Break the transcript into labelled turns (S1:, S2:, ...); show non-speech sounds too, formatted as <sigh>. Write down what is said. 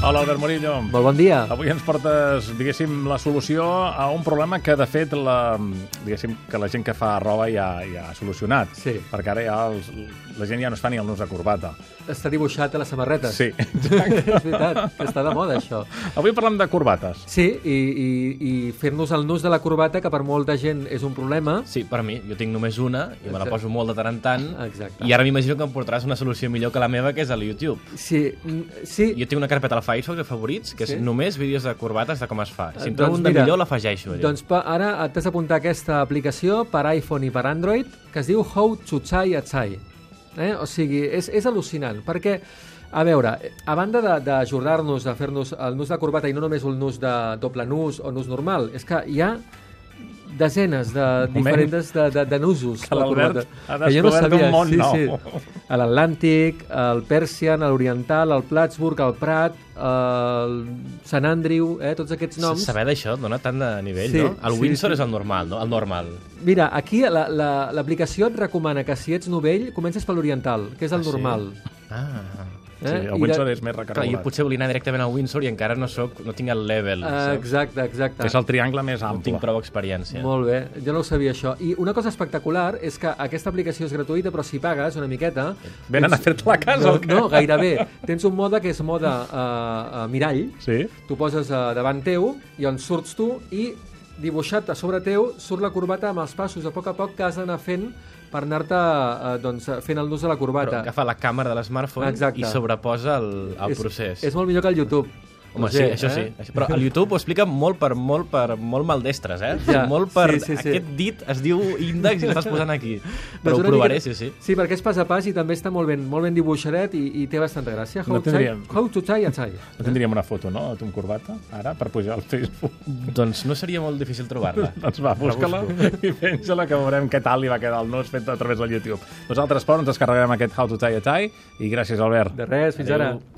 S1: Hola, Albert Murillo.
S2: Molt bon dia.
S1: Avui ens portes, diguéssim, la solució a un problema que, de fet, la, diguéssim, que la gent que fa roba ja, ja ha solucionat.
S2: Sí.
S1: Perquè ara ja els, la gent ja no es fa ni el nus de corbata.
S2: Està dibuixat a les samarretes.
S1: Sí.
S2: <laughs>
S1: <laughs>
S2: És veritat, que està de moda, això.
S1: Avui parlem de corbates.
S2: Sí, i, i, i fer-nos el nus de la corbata, que per molta gent és un problema.
S3: Sí, per mi. Jo tinc només una i me la
S2: Exacte.
S3: poso molt de tant en tant.
S2: Exacte.
S3: I ara m'imagino que em portaràs una solució millor que la meva, que és el YouTube.
S2: Sí, mm, sí.
S3: Jo tinc una carpeta al Firefox de favorits, que és
S2: Sí?
S3: només vídeos de corbates de com es fa. Si en
S2: Eh,
S3: trobo
S2: doncs
S3: un de
S2: mira,
S3: millor, l'afegeixo. eh. allò.
S2: Doncs pa, ara t'has d'apuntar aquesta aplicació per iPhone i per Android que es diu How to Chai Achai. Eh? O sigui, és, és al·lucinant, perquè, a veure, a banda de- d'ajudar-nos a fer-nos el nus de corbata i no només un nus de doble nus o nus normal, és que hi ha desenes de
S1: moment.
S2: diferents de, de, de nusos.
S1: Que
S2: a la
S1: l'Albert
S2: corbata,
S1: ha
S2: que jo no
S1: descobert
S2: sabia.
S1: un món
S2: sí,
S1: nou.
S2: Sí a l'Atlàntic, al Persian, a l'Oriental, al Plattsburgh, al Prat, al Sant Andrew, eh, tots aquests noms.
S3: Saber d'això et dona tant de nivell,
S2: Sí,
S3: no? El
S2: sí,
S3: Windsor
S2: sí.
S3: és el normal, no? El normal.
S2: Mira, aquí la- la- l'aplicació la, et recomana que si ets novell comences per l'oriental, que és el normal. eh?
S3: Ah.
S1: Sí, el
S2: I
S1: Windsor
S2: de-
S1: és més
S3: Clar, jo
S1: recarregat.
S3: potser volia anar directament al Windsor i encara no soc, no tinc el level,
S2: Ah,
S3: saps?
S2: Exacte, exacte.
S1: És el triangle més
S3: No
S1: ample.
S3: tinc prou experiència.
S2: Molt bé, jo no ho sabia això. I una cosa espectacular és que aquesta aplicació és gratuïta, però si pagues una miqueta...
S1: Venen a fer-te la casa.
S2: No,
S1: o què?
S2: no, gairebé. Tens un mode que és mode uh, uh, mirall,
S1: Sí?
S2: T'ho poses eh, davant teu i on surts tu i dibuixat a sobre teu surt la corbata amb els passos a poc a poc que has d'anar fent per anar-te eh, doncs, fent el nus de la
S3: Però
S2: corbata.
S3: agafa la càmera de l'esmartphone
S2: Exacte.
S3: i sobreposa el, el
S2: és,
S3: procés.
S2: És molt millor que el YouTube.
S3: Home,
S2: No
S3: sí,
S2: sé,
S3: això sí.
S2: eh?
S3: Això- Però el YouTube ho explica molt per molt per molt maldestres, eh?
S2: Ja,
S3: Ja, molt per
S2: sí, sí, sí.
S3: aquest dit es diu índex i l'estàs posant <laughs> aquí. Però
S2: Doncs
S3: ho
S2: una
S3: provaré,
S2: miqueta-
S3: sí, sí.
S2: Sí, perquè és pas a pas i també està molt ben, molt ben dibuixadet i, i té bastanta gràcia. How,
S1: No
S2: to
S1: tindríem.
S2: chai- how to chai a chai.
S1: No tindríem una foto, no?, de tu amb corbata, ara, per pujar al Facebook.
S3: Doncs no seria molt difícil trobar-la.
S1: <laughs> Doncs va, busca-la i penja-la, que veurem què tal li va quedar el nos doncs, fet a través del YouTube. Nosaltres, però, ens descarregarem aquest How to Tie a Tie i gràcies, Albert.
S2: De res, fins
S3: Adéu.
S2: ara.